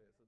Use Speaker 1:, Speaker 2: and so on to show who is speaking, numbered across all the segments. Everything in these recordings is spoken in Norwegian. Speaker 1: bare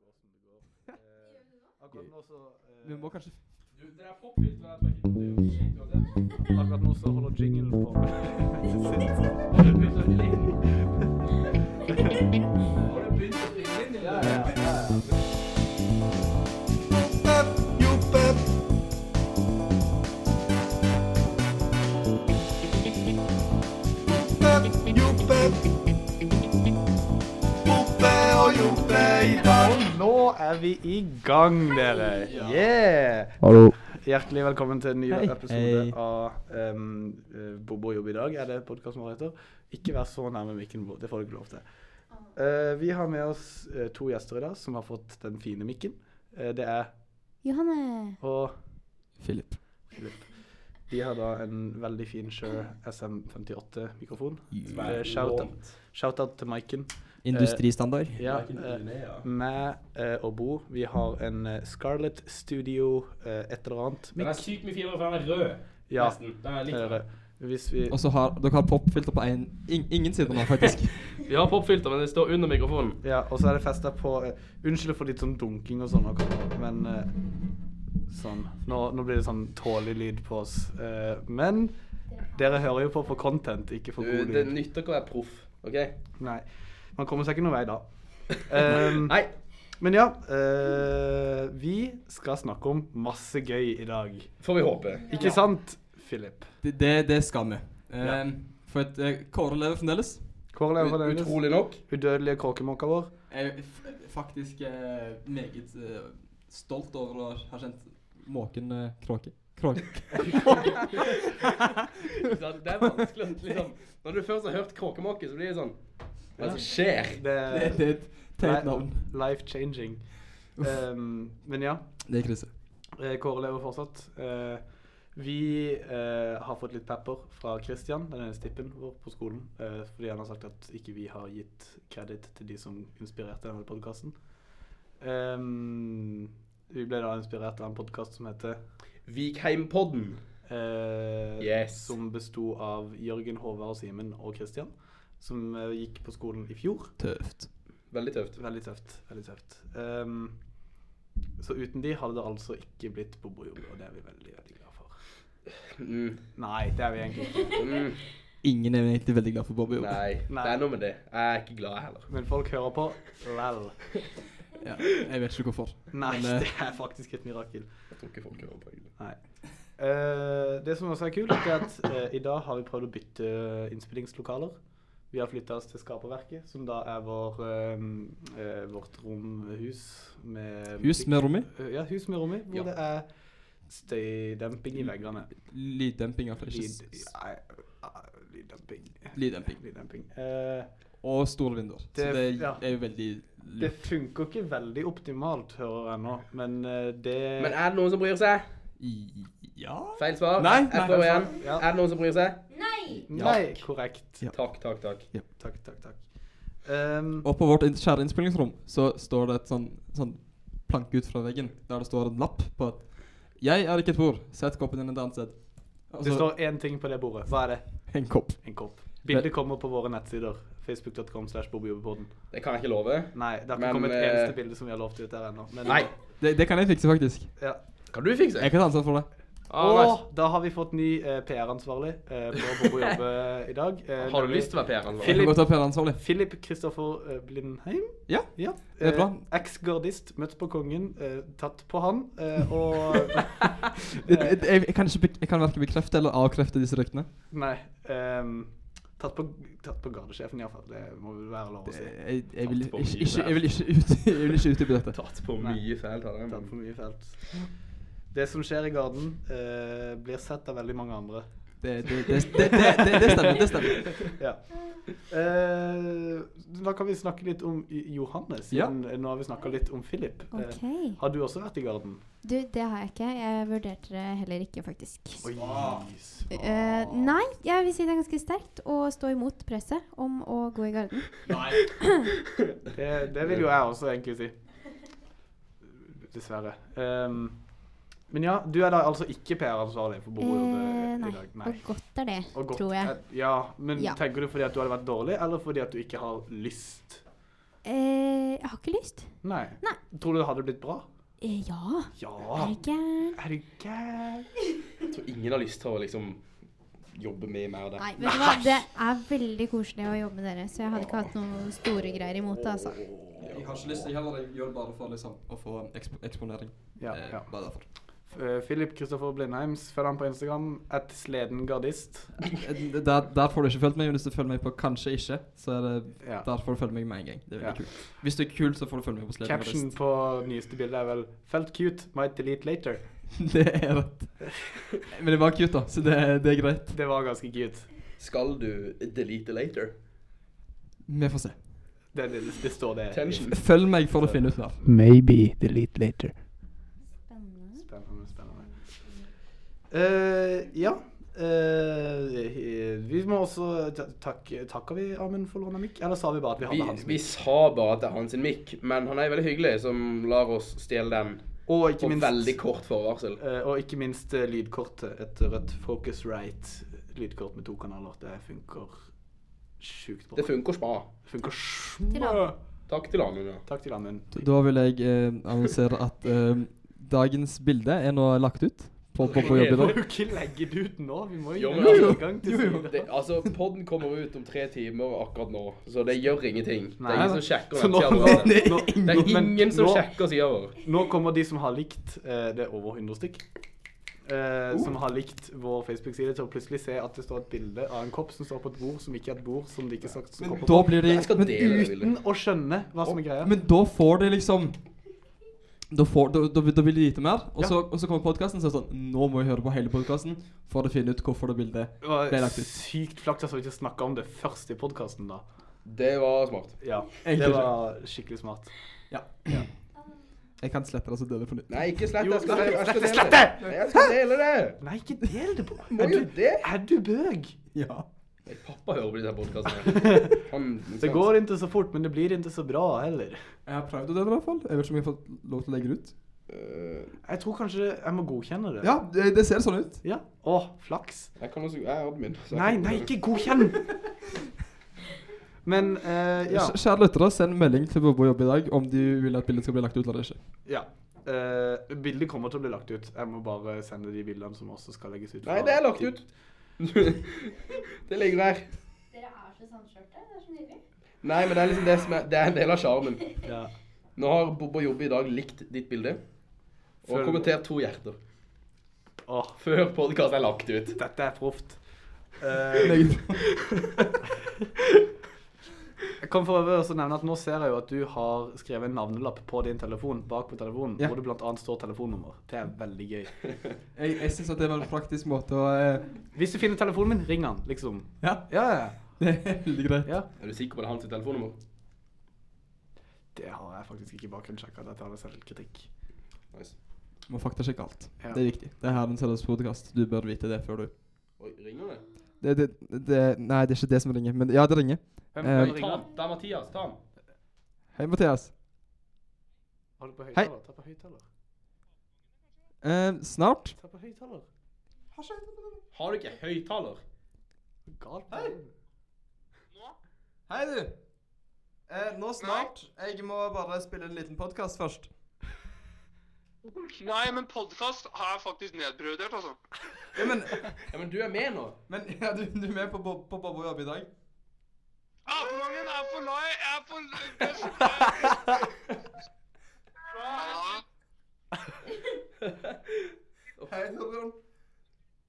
Speaker 1: gå som det går. Eh, akkurat nå så eh,
Speaker 2: Vi må kanskje
Speaker 1: Du, det er popfilter her, det er jo sykt uansett. Akkurat nå så holder jinglen på. Har det begynt å ringe? Har det begynt å ringe? Ja, ja, ja. ja. Og nå er vi i gang, dere. Yeah!
Speaker 3: Hallo.
Speaker 1: Hjertelig velkommen til en ny
Speaker 2: Hei.
Speaker 1: episode
Speaker 2: Hei.
Speaker 1: av em, eh, Bobo og jobb i dag, er det podkasten vår heter. Ikke vær så nærme mikken, Bobo. Det får du ikke lov til. Eh, vi har med oss eh, to gjester i dag som har fått den fine mikken. Eh, det er
Speaker 3: Johanne.
Speaker 1: og
Speaker 2: Philip.
Speaker 1: Philip. De har da en veldig fin Shure SM58-mikrofon.
Speaker 4: Veldig
Speaker 1: Shout-out
Speaker 4: lånt.
Speaker 1: shout-out til Maiken. Eh,
Speaker 2: Industristandard.
Speaker 1: Ja,
Speaker 4: Hverken
Speaker 1: eh,
Speaker 4: Brunei, ja.
Speaker 1: meg eh, og Bo, vi har en eh, Scarlett Studio eh, et eller annet.
Speaker 4: Den er sykt mye finere, for den er rød.
Speaker 1: Ja,
Speaker 4: Nesten. Den er litt
Speaker 1: det er det.
Speaker 4: rød.
Speaker 1: Hvis vi
Speaker 2: Og så har dere har popfilter på en, ing, ingen sider nå, faktisk.
Speaker 5: Vi har popfilter, men det står under mikrofonen.
Speaker 1: Ja, og så er det festa på eh, Unnskyld for litt sånn dunking og sånn, akkurat, men eh, sånn. Nå, nå blir det sånn tålelig lyd på oss. Eh, men dere hører jo på for content, ikke for god lyd.
Speaker 5: nytter ikke å være proff, OK?
Speaker 1: Nei. Man kommer seg ikke noen vei da. Ehm,
Speaker 5: Nei.
Speaker 1: Men ja, eh, vi skal snakke om masse gøy i dag.
Speaker 5: Får vi håpe.
Speaker 1: Ikke sant, Philip?
Speaker 2: Det, det, det skal vi. Eh, For at eh, Kåre lever fremdeles.
Speaker 1: Kåre lever fremdeles.
Speaker 5: Utrolig nok.
Speaker 1: Udødelige kråkemåka vår.
Speaker 2: Jeg er f faktisk eh, meget eh, stolt over å ha kjent måken eh, Kråke. Kråke.
Speaker 5: Ja, Det er vanskelig å liksom Når du først har hørt kråkemåke, så blir det sånn Hva er det som skjer?
Speaker 1: Det
Speaker 2: Eh,
Speaker 1: er
Speaker 2: Det, det er et teit navn.
Speaker 1: life changing. Ehm, men ja,
Speaker 2: Det er krise.
Speaker 1: eh, Kåre lever fortsatt. Eh, vi eh, har fått litt pepper fra Christian, den ene stippen vår på skolen, eh, fordi han har sagt at ikke vi har gitt kreditt til de som inspirerte denne podkasten. vi ble da inspirert av en podkast som heter
Speaker 5: Vikheimpodden.
Speaker 1: eh,
Speaker 5: Yes.
Speaker 1: Som besto av Jørgen, Håvard, Simen og Christian, som eh, gikk på skolen i fjor.
Speaker 2: Tøft.
Speaker 5: Veldig tøft.
Speaker 1: Veldig tøft. Veldig tøft. Ehm, så uten de hadde det altså ikke blitt bobojobb, og det er vi veldig, veldig glad for.
Speaker 5: Mm.
Speaker 1: Nei, det er vi egentlig ikke.
Speaker 5: Mm.
Speaker 2: Ingen er egentlig veldig glad for Bobby. Jobb.
Speaker 5: Nei,
Speaker 1: Nei.
Speaker 5: det er noe med det. Jeg er ikke glad jeg heller.
Speaker 1: Men folk hører på lell.
Speaker 2: Ja, jeg vet ikke hvorfor.
Speaker 1: Nei,
Speaker 2: Men, eh,
Speaker 1: det er faktisk et mirakel.
Speaker 5: Jeg tror ikke folk hører på egentlig.
Speaker 1: Nei. Eh, det som også er kult, er at eh, i dag har vi prøvd å bytte innspillingslokaler. Vi har flytta oss til Skaperverket, som da er vår, eh, eh, vårt romhus med Eh,
Speaker 2: Hus med rom i.
Speaker 1: Ja, hus med rom i, hvor
Speaker 5: Ja.
Speaker 1: det er
Speaker 2: Mm.
Speaker 1: støydemping i veggene.
Speaker 2: Lyddemping. altså ikke
Speaker 1: Lyd,
Speaker 2: s-
Speaker 1: nei, ah, lyddemping.
Speaker 2: Lyddemping.
Speaker 1: Lyddemping. Eh,
Speaker 2: Og store vinduer. Så
Speaker 1: Det-
Speaker 2: det
Speaker 1: ja.
Speaker 2: er jo veldig
Speaker 1: det funker ikke veldig optimalt, hører jeg nå, men eh, det
Speaker 5: Men er det noen som bryr seg?
Speaker 2: I- Ja
Speaker 5: Feil svar.
Speaker 2: Nei, nei,
Speaker 5: Jeg prøver igjen.
Speaker 1: Ja.
Speaker 5: Er det noen som bryr seg?
Speaker 1: Nei, korrekt.
Speaker 2: Ja.
Speaker 5: Takk, takk, takk.
Speaker 1: Takk, takk, takk. Ehm,
Speaker 2: Og på vårt inn- kjære innspillingsrom så står det et sånn, sånn planke ut fra veggen der det står en lapp på at 'Jeg er ikke et bord. Sett koppen din et annet sted'. Og
Speaker 5: altså-
Speaker 1: det
Speaker 2: så
Speaker 1: står én ting på det bordet. Hva er det?
Speaker 2: en kopp.
Speaker 1: En kopp. Bildet kommer på våre nettsider. Facebook.com slash bobbyobbepodden.
Speaker 5: Det kan jeg ikke love.
Speaker 1: Nei, det har ikke
Speaker 5: Men,
Speaker 1: kommet et
Speaker 5: eh,
Speaker 1: eneste bilde som vi har lovt ut der ennå. men-
Speaker 5: Nei.
Speaker 2: Det, det kan jeg fikse, faktisk.
Speaker 1: Ja.
Speaker 5: Kan du fikse?
Speaker 2: Jeg kan ta ansvar for det.
Speaker 5: Ah,
Speaker 1: Og da har vi fått ny eh, PR-ansvarlig eh, på Bobo Jobbe i dag. Eh,
Speaker 5: Har du
Speaker 1: nemlig
Speaker 5: lyst til å være PR-ansvarlig?
Speaker 2: Jeg kan godt være ansvarlig
Speaker 1: Philip Kristoffer eh, Blindheim.
Speaker 2: Ja,
Speaker 1: ja.
Speaker 2: det er bra.
Speaker 1: Eh, Eks-gardist, møtt på kongen, eh, tatt på han, eh, og
Speaker 2: Jeg, jeg, jeg kan ikke bek- jeg kan verken bekrefte eller avkrefte disse ryktene.
Speaker 1: Nei. ehm, tatt på, tatt på gardesjefen, iallfall. Det må vel være lov å si.
Speaker 2: Jeg, jeg, vil,
Speaker 5: Tatt
Speaker 2: ikke,
Speaker 5: på mye
Speaker 2: ikke, jeg
Speaker 5: der.
Speaker 2: vil ikke ut jeg vil ikke utdype dette.
Speaker 5: Tatt på
Speaker 1: Nei.
Speaker 5: mye feil, tar jeg.
Speaker 1: Tatt for mye felt. Det som skjer i garden, eh, blir sett av veldig mange andre.
Speaker 2: Det, det, det, det, det, det, det stemmer. det stemmer
Speaker 1: Ja. Eh, da kan vi snakke litt om I- Johannes,
Speaker 2: Ja.
Speaker 1: siden eh, nå har vi snakka litt om Philip. Eh,
Speaker 3: Ok.
Speaker 1: har du også vært i garden?
Speaker 3: Du, det har jeg ikke. Jeg vurderte det heller ikke, faktisk.
Speaker 1: Oi.
Speaker 3: Eh, nei, jeg vil si det er ganske sterkt å stå imot presset om å gå i garden.
Speaker 1: Det, det vil jo jeg også egentlig si. Dessverre. Ehm, men ja, du er da altså ikke PR-ansvarlig for Borejobb
Speaker 3: Eh,
Speaker 1: i
Speaker 3: nei.
Speaker 1: dag?
Speaker 3: Og godt er det,
Speaker 1: Og godt,
Speaker 3: tror jeg.
Speaker 1: eh, Ja, men
Speaker 3: Ja.
Speaker 1: tenker du fordi at du hadde vært dårlig, eller fordi at du ikke har lyst?
Speaker 3: Eh, jeg har ikke lyst.
Speaker 1: Nei.
Speaker 3: Nei.
Speaker 1: Tror du det hadde blitt bra?
Speaker 3: Eh, ja.
Speaker 1: Ja.
Speaker 3: Er jeg gæren?
Speaker 1: Er du gæren?
Speaker 5: Jeg tror ingen har lyst til å liksom jobbe med mer der.
Speaker 3: Nei, vet du hva? Det er veldig koselig å jobbe med dere, så jeg hadde ikke hatt noen store greier imot det, altså.
Speaker 2: Jeg har ikke lyst til heller, jeg gjør det bare for liksom, å få eksp eksponering.
Speaker 1: Ja,
Speaker 2: Eh,
Speaker 1: ja.
Speaker 2: Bare derfor.
Speaker 1: Eh, Philip Kristoffer Blindheims, følg han på Instagram. Et sleden gardist.
Speaker 2: Eh, Der, der får du ikke følt meg, men hvis du følger meg på kanskje ikke, så er det
Speaker 1: Ja.
Speaker 2: Der får du følge meg med en gang. Det er
Speaker 1: Ja.
Speaker 2: veldig kult. Hvis du er kul, så får du følge meg på Sleden
Speaker 1: Caption
Speaker 2: Artist.
Speaker 1: på nyeste bilde er vel 'Felt cute, might delete later'.
Speaker 2: Det er rett. Men det var cute, da, så det, det er greit.
Speaker 1: Det var ganske cute.
Speaker 5: Skal du delete later?
Speaker 2: Vi får se.
Speaker 1: Det, det, det står det.
Speaker 5: Tension.
Speaker 2: Følg meg for å finne ut mer.
Speaker 1: Maybe delete later.
Speaker 3: Spennende.
Speaker 1: Spennende, spennende. Eh, ja. Eh, vi må også ta- takke Takker vi Amund for lånet mic? Eller sa vi bare at vi
Speaker 5: Vi,
Speaker 1: hadde hans
Speaker 5: vi
Speaker 1: mic?
Speaker 5: sa bare at det er hans mic, men han er veldig hyggelig som lar oss stjele den
Speaker 1: Og ikke
Speaker 5: på veldig
Speaker 1: minst,
Speaker 5: kort forvarsel.
Speaker 1: eh, og ikke minst eh, lydkortet. Et rødt Focusrite lydkort med to kanaler. Det funker sjukt bra.
Speaker 5: Det funker spa.
Speaker 1: funker
Speaker 3: Til
Speaker 1: små.
Speaker 3: Amund.
Speaker 5: Takk til Amund. ja.
Speaker 1: Takk til Amund.
Speaker 2: Da vil jeg eh, annonsere at eh, dagens bilde er nå lagt ut på, på, på jobb i
Speaker 1: Vi må
Speaker 2: dag.
Speaker 1: jo ikke legge det ut nå. Vi må
Speaker 5: Jo,
Speaker 1: jo gjøre
Speaker 5: men
Speaker 1: det
Speaker 5: altså-
Speaker 1: i gang til
Speaker 5: Det,
Speaker 1: siden.
Speaker 5: altså, Podden kommer ut om tre timer akkurat nå, så det gjør ingenting. Det
Speaker 1: Nei.
Speaker 5: er ingen som sjekker
Speaker 1: Så
Speaker 5: den
Speaker 1: nå,
Speaker 5: siden
Speaker 1: nå,
Speaker 5: vår.
Speaker 1: nå,
Speaker 5: Det er
Speaker 1: men
Speaker 5: ingen som
Speaker 1: nå-
Speaker 5: sjekker sida vår.
Speaker 1: Nå kommer de som har likt eh, Det er over 100 stykk. eh, Som
Speaker 2: Uh.
Speaker 1: har likt vår Facebook-side, til å plutselig se at det står et bilde av en kopp som står på et bord som ikke er et bord som de ikke sagt som
Speaker 2: Da
Speaker 1: kopper på.
Speaker 2: blir de
Speaker 5: Jeg skal
Speaker 2: men,
Speaker 5: dele det bildet.
Speaker 1: Uten å skjønne hva som er greia.
Speaker 2: men da får de liksom da, får, da, da, da vil de vite mer, og
Speaker 1: Ja.
Speaker 2: så, og så kommer podkasten og sier sånn Nå må jeg høre på hele podkasten for å finne ut hvorfor det bildet
Speaker 1: Det
Speaker 2: ble
Speaker 1: var
Speaker 2: lagt ut.
Speaker 1: sykt flaks at vi ikke snakka om det først i podkasten, da.
Speaker 5: Det var smart.
Speaker 1: Ja,
Speaker 2: Egentlig
Speaker 1: det var skikkelig smart.
Speaker 2: Jeg kan slette det, så dør det på nytt.
Speaker 5: Nei, ikke slett.
Speaker 1: Jo,
Speaker 5: Jeg skal,
Speaker 1: slett-
Speaker 5: jeg skal,
Speaker 1: slett
Speaker 5: dele,
Speaker 1: det!
Speaker 5: det. Nei, jeg skal dele det!
Speaker 1: Nei, ikke del det på
Speaker 5: Må
Speaker 1: Er
Speaker 5: jo
Speaker 1: du,
Speaker 5: det!
Speaker 1: er du bøg?
Speaker 2: Ja.
Speaker 5: Nei, Pappa hører på disse podkastene.
Speaker 1: Det går ikke så fort, men det blir ikke så bra heller.
Speaker 2: Jeg har prøvd å dele det, i hvert fall. Jeg vet ikke om jeg har fått lov til å legge det ut.
Speaker 5: Eh,
Speaker 1: Jeg tror kanskje jeg må godkjenne det.
Speaker 2: Ja, det, det ser sånn ut.
Speaker 1: ja. Å, flaks.
Speaker 5: Jeg kan også Jeg er admin. så jeg
Speaker 1: Nei,
Speaker 5: kan-
Speaker 1: nei, ikke godkjenn! Men eh, ja.
Speaker 2: Kj- Kjære lyttere, send melding til Bobo Jobb i dag om du vil at bildet skal bli lagt ut eller ikke.
Speaker 1: ja. Eh, bildet kommer til å bli lagt ut. Jeg må bare sende de bildene som også skal legges ut.
Speaker 5: Nei,
Speaker 1: fra-
Speaker 5: det er lagt ut. det ligger der.
Speaker 3: Dere er så sandskjørte. Det er så nydelig.
Speaker 5: Nei, men det er liksom det som er Det er en del av sjarmen.
Speaker 1: Ja.
Speaker 5: Nå har Bob og Jobbe i dag likt ditt bilde og
Speaker 1: Følg-
Speaker 5: kommentert to hjerter
Speaker 1: Åh,
Speaker 5: før podkasten er lagt ut.
Speaker 1: dette er proft. Eh,
Speaker 2: Legg-
Speaker 1: jeg kan for øvrig også nevne at nå ser jeg jo at du har skrevet en navnelapp på din telefon, bak på telefonen,
Speaker 2: Ja.
Speaker 1: hvor det blant annet står telefonnummer. Det er veldig gøy.
Speaker 2: Jeg, jeg syns det var en praktisk måte å eh,
Speaker 1: Hvis du finner telefonen min, ring han, liksom.
Speaker 2: Ja,
Speaker 1: Ja, ja,
Speaker 2: det er veldig greit.
Speaker 1: ja.
Speaker 5: Er du sikker på det er hans telefonnummer?
Speaker 1: Det har jeg faktisk ikke bakgrunnssjekka. Dette har jeg selvkritikk.
Speaker 5: Nice.
Speaker 2: Må faktasjekke alt.
Speaker 1: Ja.
Speaker 2: Det er viktig. Det er her en seriøs podkast. Du bør vite det før du
Speaker 5: Oi, ringer det?
Speaker 2: det, det, det, Nei, det er ikke det som ringer, men ja, det ringer.
Speaker 1: Hvem
Speaker 2: Eh,
Speaker 1: hvem
Speaker 5: Nei, ta
Speaker 1: ringer?
Speaker 5: han. Det er Mathias. Ta han.
Speaker 2: Hei, Mathias.
Speaker 1: Har du på
Speaker 2: Hei.
Speaker 1: høyttaler? Ta på høyttaler.
Speaker 2: Eh, snart.
Speaker 1: Ta på høyttaler.
Speaker 5: Har du ikke høyttaler?
Speaker 1: Galt.
Speaker 2: Hei. Hei, du. Eh, nå snart. Jeg må bare spille en liten podkast først.
Speaker 4: Nei, men podkast er faktisk nedprioritert, altså.
Speaker 2: Ja, men,
Speaker 5: Ja, men du er med nå.
Speaker 2: ja, du, er med på, på Bobo Jobb i dag?
Speaker 4: Apemangen er for lei, jeg er for Nei,
Speaker 2: Hei, Torbjørn.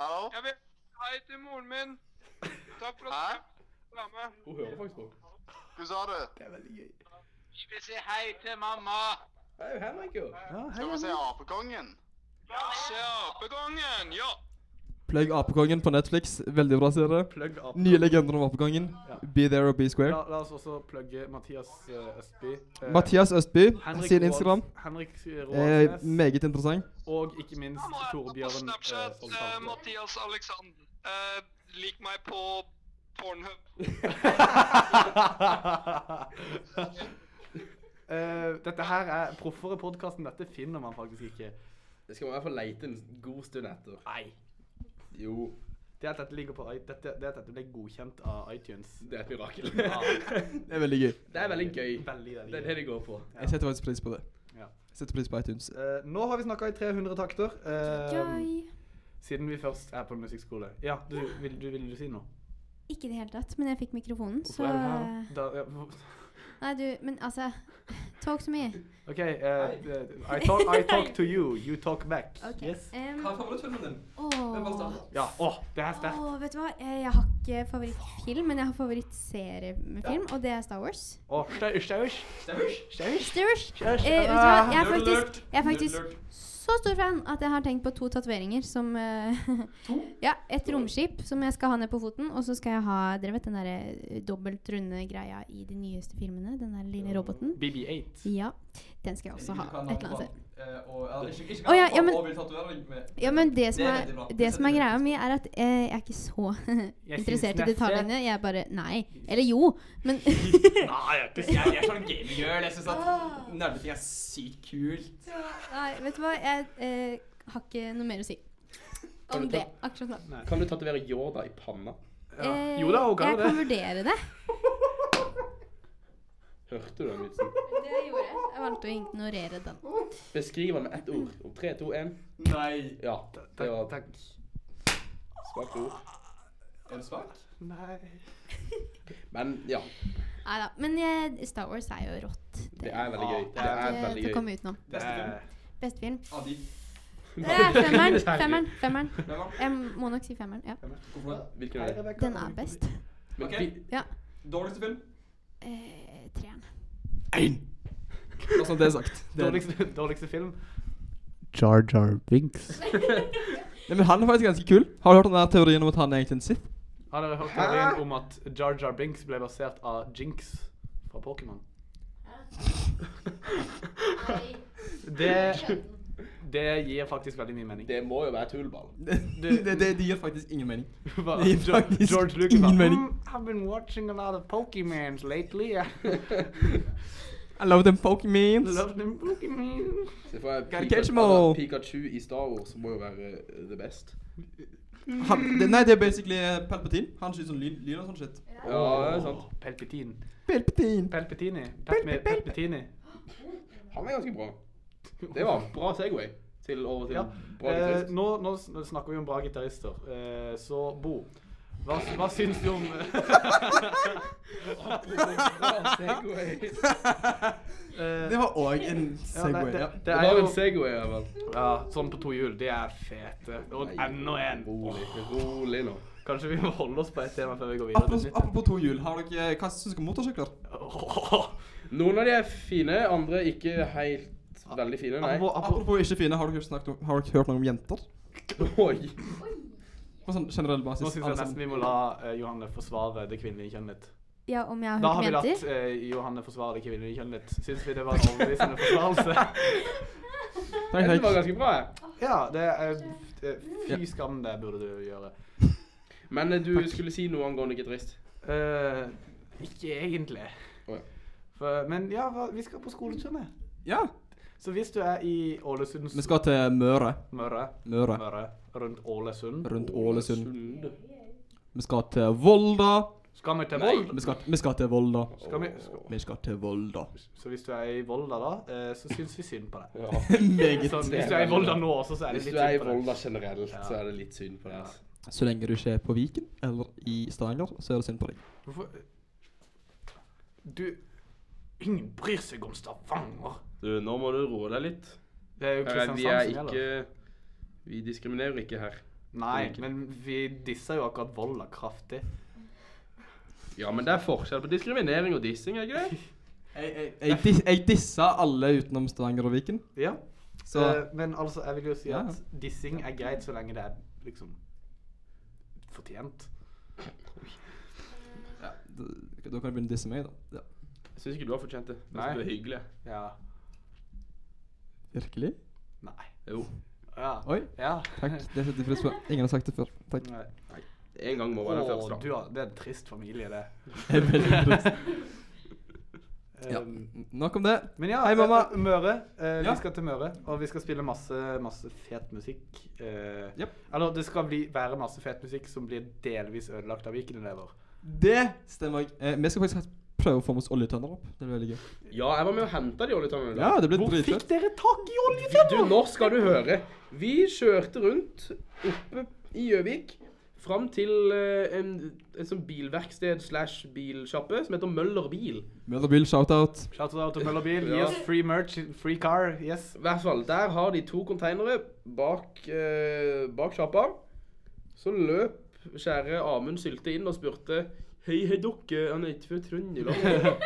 Speaker 6: Hallo?
Speaker 4: Jeg vil hei til moren min. Takk for at du var med.
Speaker 5: Hun hører faktisk på.
Speaker 6: Hva sa du?
Speaker 4: Jeg vil si hei til mamma.
Speaker 5: Hei, Henrik, jo.
Speaker 1: Ja, hei,
Speaker 6: Skal vi se
Speaker 1: hei.
Speaker 6: Apekongen?
Speaker 4: Se apegangen, ja.
Speaker 2: Plugg Apekongen på Netflix. Veldig bra serie.
Speaker 1: Plugg opp.
Speaker 2: Nye legender om Apekongen.
Speaker 1: Ja.
Speaker 2: Be there or be
Speaker 1: La,
Speaker 2: square.
Speaker 1: la oss også plugge Mathias eh, Østby. eh,
Speaker 2: Mathias Østby
Speaker 1: Henrik
Speaker 2: sin
Speaker 1: Roald-
Speaker 2: Instagram.
Speaker 1: Henrik
Speaker 2: Eh,
Speaker 1: Roaldsnes.
Speaker 2: meget interessant.
Speaker 1: og ikke minst
Speaker 4: Mamma er på
Speaker 1: Torbjørn eh,
Speaker 4: Snapchat.
Speaker 1: som
Speaker 4: eh,
Speaker 1: talte.
Speaker 4: Mathias Alexander. Eh, Lik meg på Pornhub.
Speaker 1: Eh, dette her er proffere podkasten. Dette finner man faktisk ikke.
Speaker 5: Det skal man i hvert fall leite en god stund etter.
Speaker 1: Nei.
Speaker 5: Jo.
Speaker 1: Det at dette ligger på i- dette, det at dette ble godkjent av iTunes.
Speaker 5: Det er et mirakel.
Speaker 2: Det er veldig gøy.
Speaker 5: Det er veldig gøy.
Speaker 1: Veldig, veldig
Speaker 5: Det er det de går på.
Speaker 2: Jeg setter faktisk pris på det.
Speaker 1: Ja.
Speaker 2: Jeg setter pris på iTunes.
Speaker 1: Eh, nå har vi snakka i 300 takter. eh,
Speaker 3: Joy.
Speaker 1: siden vi først er på en musikkskole. Ja, du, vil, du, vil du si noe?
Speaker 3: Ikke i det hele tatt, men jeg fikk mikrofonen, så
Speaker 1: Hvorfor er du her? Da, ja, hvor-
Speaker 3: Nei, du, men altså Talk to me.
Speaker 1: OK. eh, I, talk, I talk to you, you talk back.
Speaker 3: Ok.
Speaker 1: Yes.
Speaker 3: em,
Speaker 2: Hva er favorittfilmen din? Hvem var
Speaker 3: åh,
Speaker 2: starten?
Speaker 1: Ja. Å, det er sterkt.
Speaker 3: åh, vet du hva? Eh, Jeg har ikke favorittfilm, men jeg har favorittseriefilm, og det er Star Wars.
Speaker 1: Å, staus, staus. Staus?
Speaker 3: Star Wars.
Speaker 1: Staus.
Speaker 3: Eh, vet du hva? Jeg er
Speaker 2: Nerd
Speaker 3: faktisk,
Speaker 2: alert.
Speaker 3: jeg er
Speaker 2: Nerd
Speaker 3: faktisk
Speaker 2: alert.
Speaker 3: så stor fan at jeg har tenkt på to tatoveringer som eh, Ja, et romskip som jeg skal ha ned på foten, og så skal jeg ha dere vet, den der eh, dobbelt runde greia i de nyeste filmene. Den der lille roboten.
Speaker 1: BB8.
Speaker 3: Ja, den skal jeg også ha
Speaker 2: Ikke kan
Speaker 3: et eller annet sted.
Speaker 2: Eh, og, eller, ikke, ikke
Speaker 3: Å, ja,
Speaker 2: kan han
Speaker 3: ja, men-
Speaker 2: få- og vil tatovere deg med-
Speaker 3: Ja, men det som
Speaker 2: Det er
Speaker 3: er,
Speaker 2: veldig bra.
Speaker 3: det som er
Speaker 2: setter
Speaker 3: greia
Speaker 2: vi
Speaker 3: mi, er at eh, jeg er ikke så
Speaker 1: Jeg
Speaker 3: interessert i
Speaker 1: synes neppe.
Speaker 3: detaljene. Jeg er bare Nei. Eller jo, men
Speaker 2: pris på. Nei, jeg er ikke- jeg, jeg er sånn gaminggirl. Jeg syns
Speaker 3: Ah.
Speaker 2: at nerdeting er sykt kult.
Speaker 3: Nei, vet du hva? Jeg eh, har ikke noe mer å si om det akkurat nå.
Speaker 5: Kan du tatovere Yoda i panna?
Speaker 1: Ja.
Speaker 3: Eh,
Speaker 1: Jo da, hun kan
Speaker 3: jeg
Speaker 1: jo
Speaker 3: kan
Speaker 1: det.
Speaker 3: vurdere det.
Speaker 5: Hørte du den vitsen?
Speaker 3: Det gjorde jeg. Jeg valgte å ignorere den.
Speaker 5: Beskriv den med ett ord. Om tre, to, én.
Speaker 2: Nei.
Speaker 5: Ja. Det
Speaker 1: Takk.
Speaker 5: var
Speaker 1: takk.
Speaker 5: svakt ord.
Speaker 2: Er du svak?
Speaker 1: Nei.
Speaker 5: Men ja.
Speaker 3: Nei da. Men eh, Star Wars er jo rått.
Speaker 5: Det er veldig gøy. Det
Speaker 3: Det
Speaker 5: er
Speaker 3: er
Speaker 5: veldig
Speaker 3: ikke til å
Speaker 5: gøy.
Speaker 3: komme utenom.
Speaker 2: Beste film
Speaker 3: Beste film.
Speaker 2: av de.
Speaker 3: Eh, femmeren. Femmeren. femmeren.
Speaker 2: Hvem var den?
Speaker 3: Jeg må nok si femmeren. Ja.
Speaker 2: Hvorfor det?
Speaker 5: Hvilken er det?
Speaker 3: Den er best.
Speaker 5: Men
Speaker 2: Ok.
Speaker 5: vi-
Speaker 2: Dårligste film?
Speaker 3: Eh, treeren.
Speaker 2: Bare sånn det er sagt. Det er-
Speaker 1: Dårligste, dårligste film?
Speaker 7: Jar Jar Binks.
Speaker 2: Nei, men han er faktisk ganske kul. Har du hørt den der teorien om at han er egentlig en sith?
Speaker 1: Har dere hørt teorien om at Jar Jar Binks ble basert av Jinx fra Pokémon? Det, det gir faktisk veldig mye mening.
Speaker 5: Det må jo være tullball.
Speaker 2: Det, det, det, det gir faktisk ingen mening.
Speaker 1: Hva?
Speaker 2: Det gir faktisk
Speaker 1: George Lucas
Speaker 2: ingen
Speaker 1: sa,
Speaker 2: mening.
Speaker 1: "Mm, I've been watching a lot of Pokemans lately. I
Speaker 2: I love them Pokémons.
Speaker 1: love them Pokemon.
Speaker 5: Så får jeg
Speaker 2: Gotta
Speaker 5: Pika-
Speaker 2: catch 'em all.
Speaker 5: altså, Pikachu i Star Wars må jo være eh, the best.
Speaker 2: Han, det, nei, det er basically eh, Palpatine. Han skyter sånn lyn, lyn og sånn shit.
Speaker 5: Ja, det er sant.
Speaker 1: Palpatine.
Speaker 2: Palpatine.
Speaker 1: Palpatini. Palpatini. Palpatini.
Speaker 5: Han er ganske bra. Det var en bra Segway til over til
Speaker 1: Ja.
Speaker 5: bra
Speaker 1: Eh,
Speaker 5: gitarist.
Speaker 1: nå, nå sn- snakker vi om bra gitarister. Eh, så Bo, hva, s- hva syns du om
Speaker 5: Bra Segway.
Speaker 1: eh,
Speaker 2: Det var òg en Segway.
Speaker 1: det,
Speaker 2: Ja,
Speaker 1: det
Speaker 5: Det
Speaker 1: er
Speaker 5: var
Speaker 1: jo
Speaker 5: en Segway, i hvert fall.
Speaker 1: ja, Sånn på to hjul, de er fete. Og
Speaker 5: Nei,
Speaker 1: enda en.
Speaker 2: Oh.
Speaker 5: Rolig, rolig nå. Kanskje
Speaker 1: Vi må holde oss på ett tema før vi går videre.
Speaker 2: Apropos,
Speaker 1: til
Speaker 2: apropos to hjul, har dere, eh, hva syns dere om motorsykler?
Speaker 1: nytt.
Speaker 5: Noen av de er fine, andre ikke helt veldig fine, nei.
Speaker 1: Apropos- apropos-
Speaker 2: Apropos ikke fine, har dere, snakket om, har dere hørt noe om jenter?
Speaker 5: Oi.
Speaker 2: På sånn generell basis.
Speaker 1: Nå syns jeg
Speaker 2: alle
Speaker 1: nesten
Speaker 2: sammen.
Speaker 1: vi må la eh, Johanne forsvare det kvinnelige kjønn litt.
Speaker 3: Ja, om jeg
Speaker 1: Da
Speaker 3: har
Speaker 1: har vi
Speaker 3: hørt
Speaker 1: latt
Speaker 3: jenter?
Speaker 1: eh, Johanne forsvare det kvinnelige kjønn litt. Syns vi det var en overbevisende forsvarelse?
Speaker 2: Takk,
Speaker 5: Dette var
Speaker 2: takk.
Speaker 5: ganske bra. jeg.
Speaker 1: Ja, det er eh, Fy skam, det burde du gjøre.
Speaker 5: Men eh, du skulle si noe angående gitarist.
Speaker 1: Eh, ikke egentlig.
Speaker 5: Å ja.
Speaker 1: For, men ja, hva- vi skal på skoleturné.
Speaker 2: Ja.
Speaker 1: Så hvis du er i Ålesunds
Speaker 2: Vi skal til Møre.
Speaker 1: Møre,
Speaker 2: Møre.
Speaker 1: Møre rundt Ålesund
Speaker 2: Rundt Ålesund.
Speaker 5: Sund.
Speaker 2: Vi skal til Volda.
Speaker 1: Skal vi til
Speaker 5: Nei.
Speaker 1: Volda?
Speaker 2: Vi skal, vi skal til Volda.
Speaker 1: Skal vi, skal,
Speaker 2: Vi skal til Volda.
Speaker 1: så hvis du er i Volda, da, eh, så syns vi synd på deg.
Speaker 5: Ja.
Speaker 2: Meget.
Speaker 1: Så hvis du er i Volda nå også, så er det
Speaker 5: Hvis
Speaker 1: litt
Speaker 5: du er i
Speaker 1: synd på deg.
Speaker 5: Volda generelt, så er det litt synd på deg. altså.
Speaker 2: Så lenge du ikke er på Viken eller i Stavanger, så er det synd på deg.
Speaker 1: Hvorfor Du Ingen bryr seg om Stavanger.
Speaker 5: Du, nå må du roe deg litt.
Speaker 1: Det er jo
Speaker 5: Her er,
Speaker 1: Kristiansand
Speaker 5: Eh, vi er
Speaker 1: som
Speaker 5: ikke
Speaker 1: gjelder.
Speaker 5: Vi diskriminerer ikke her.
Speaker 1: Nei, men vi disser jo akkurat Volda kraftig.
Speaker 5: Ja, men det er forskjell på diskriminering og dissing, er ikke det?
Speaker 2: Jeg, dis, jeg dissa alle utenom Stavanger og Viken.
Speaker 1: Ja.
Speaker 2: Så
Speaker 1: Eh, men altså, jeg vil jo si
Speaker 2: Ja, ja.
Speaker 1: at dissing er greit så lenge det er liksom fortjent.
Speaker 2: ja, da, da kan du begynne å disse meg, da. Ja.
Speaker 5: Jeg syns ikke du har fortjent det. Jeg
Speaker 1: Nei.
Speaker 5: synes du er hyggelig.
Speaker 1: Ja.
Speaker 2: Virkelig?
Speaker 1: Nei.
Speaker 5: Jo.
Speaker 1: Ja.
Speaker 2: Oi,
Speaker 1: Ja.
Speaker 2: takk. Det setter jeg pris på. Ingen har sagt det før. Takk.
Speaker 1: Nei.
Speaker 5: En gang må være den
Speaker 1: Å,
Speaker 5: første.
Speaker 1: du har, det er en trist familie, det.
Speaker 2: Jeg er veldig trist.
Speaker 1: Um,
Speaker 2: Ja. Nok om det.
Speaker 1: Men ja,
Speaker 2: Hei, mamma.
Speaker 1: eh, Møre. eh,
Speaker 2: Ja.
Speaker 1: Vi skal til Møre, og vi skal spille masse, masse fet musikk. eh,
Speaker 2: Jep.
Speaker 1: Eller det skal bli, være masse fet musikk som blir delvis ødelagt av Viken-elever.
Speaker 2: Det stemmer. jeg. Eh, vi skal faktisk prøve å få med oss oljetønner opp. Det blir veldig gøy.
Speaker 5: Ja, jeg var med og henta de oljetønnene. i
Speaker 2: Ja,
Speaker 5: dag.
Speaker 2: det blir
Speaker 1: Hvor fikk
Speaker 2: dritfett.
Speaker 1: dere tak i
Speaker 5: Du,
Speaker 1: oljetønner?
Speaker 5: når skal du høre? Vi kjørte rundt oppe i Gjøvik fram til eh, en, et sånt bilverksted slash bilsjappe som heter Møller Bil.
Speaker 2: Møller shout-out.
Speaker 1: Shout-out til Møller Bil.
Speaker 5: Ja.
Speaker 1: Yes, free merch, free car. Yes.
Speaker 5: I hvert fall, der har de to konteinere bak, eh, bak sjappa. Så løp kjære Amund Sylte inn og spurte Hei, hei, dere. Han er ikke fra Trøndelag.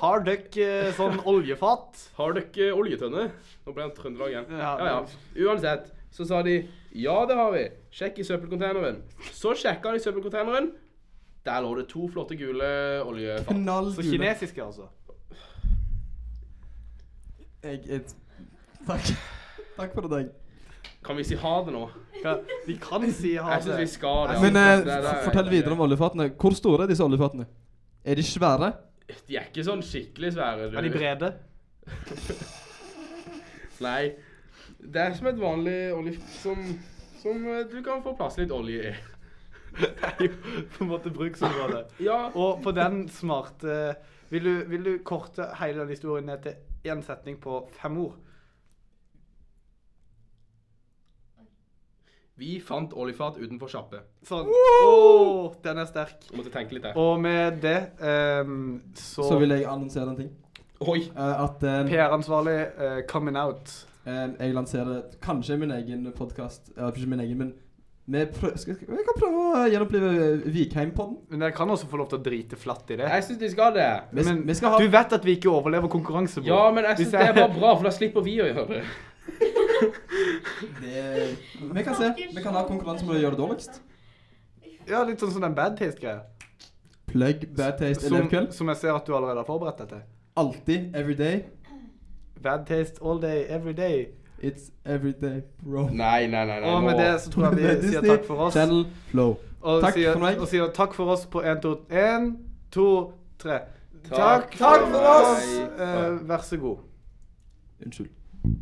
Speaker 1: Har dere eh, sånn oljefat?
Speaker 5: Har dere oljetønne? Nå ble han Trøndelag igjen.
Speaker 1: Ja,
Speaker 5: Ja, ja. Uansett, så sa de ja, det har vi. Sjekk i søppelcontaineren. Så sjekka de søppelcontaineren. Der lå det to flotte gule
Speaker 1: Så
Speaker 5: oljefat.
Speaker 2: Knallgule.
Speaker 1: kinesiske, altså.
Speaker 2: Jeg, jeg, takk. Takk for det, deg.
Speaker 5: Kan vi si ha det nå?
Speaker 1: Hva- Vi kan si ha
Speaker 5: Jeg syns vi
Speaker 1: det.
Speaker 5: skal det.
Speaker 2: Men
Speaker 5: altså.
Speaker 2: eh,
Speaker 5: Det- det er-
Speaker 2: fortell videre om oljefatene. Hvor store er disse oljefatene? Er de svære?
Speaker 5: De er ikke sånn skikkelig svære. du.
Speaker 1: Er de brede?
Speaker 5: Nei. Det er som et vanlig olje... Som, som eh, du kan få plass litt olje i.
Speaker 1: På en måte bruksområde.
Speaker 5: Ja.
Speaker 1: Og på den smarte Vil du, vil du korte hele den historien ned til én setning på fem ord?
Speaker 5: Vi fant oljefat utenfor sjappe.
Speaker 1: Sånn. Åh, den er sterk.
Speaker 5: Jeg Måtte tenke litt der.
Speaker 1: Og med det ehm, så,
Speaker 2: Så vil jeg annonsere en ting.
Speaker 5: Oi!
Speaker 2: Eh, at eh,
Speaker 1: PR-ansvarlig eh, coming out.
Speaker 2: eh, jeg lanserer kanskje min egen podkast. Ikke min egen, men vi, prø skal, skal, vi kan prøve å gjenopplive eh, Vikheim-podden.
Speaker 1: Men dere kan også få lov til å drite flatt i det.
Speaker 5: Jeg syns de skal det.
Speaker 2: Vi,
Speaker 1: Men
Speaker 2: vi skal ha
Speaker 1: du vet at vi ikke overlever konkurranse,
Speaker 5: Ja,
Speaker 1: bror.
Speaker 5: men jeg
Speaker 1: Hvis
Speaker 5: syns det
Speaker 1: jeg-
Speaker 5: er bare bra, for da slipper vi å gjøre det.
Speaker 2: det, Vi kan se. Vi kan ha konkurranse om å gjøre det dårligst.
Speaker 1: Ja. litt sånn som den bad taste-greia.
Speaker 2: Plug bad taste
Speaker 1: Som,
Speaker 2: elevkveld.
Speaker 1: som jeg ser at du allerede har forberedt deg til.
Speaker 2: Alltid. Every day.
Speaker 1: Bad taste all day, every day.
Speaker 2: It's every day, bro.
Speaker 5: Nei, nei, nei. nei
Speaker 1: Og med
Speaker 5: nå-
Speaker 1: det så tror jeg vi sier takk for oss.
Speaker 2: Channel flow.
Speaker 1: Og
Speaker 2: Takk
Speaker 1: sier,
Speaker 2: for meg.
Speaker 1: Og sier takk for oss på 1, 2, 1, 2, 3.
Speaker 5: Takk for meg.
Speaker 1: Eh, vær så god.
Speaker 2: Unnskyld.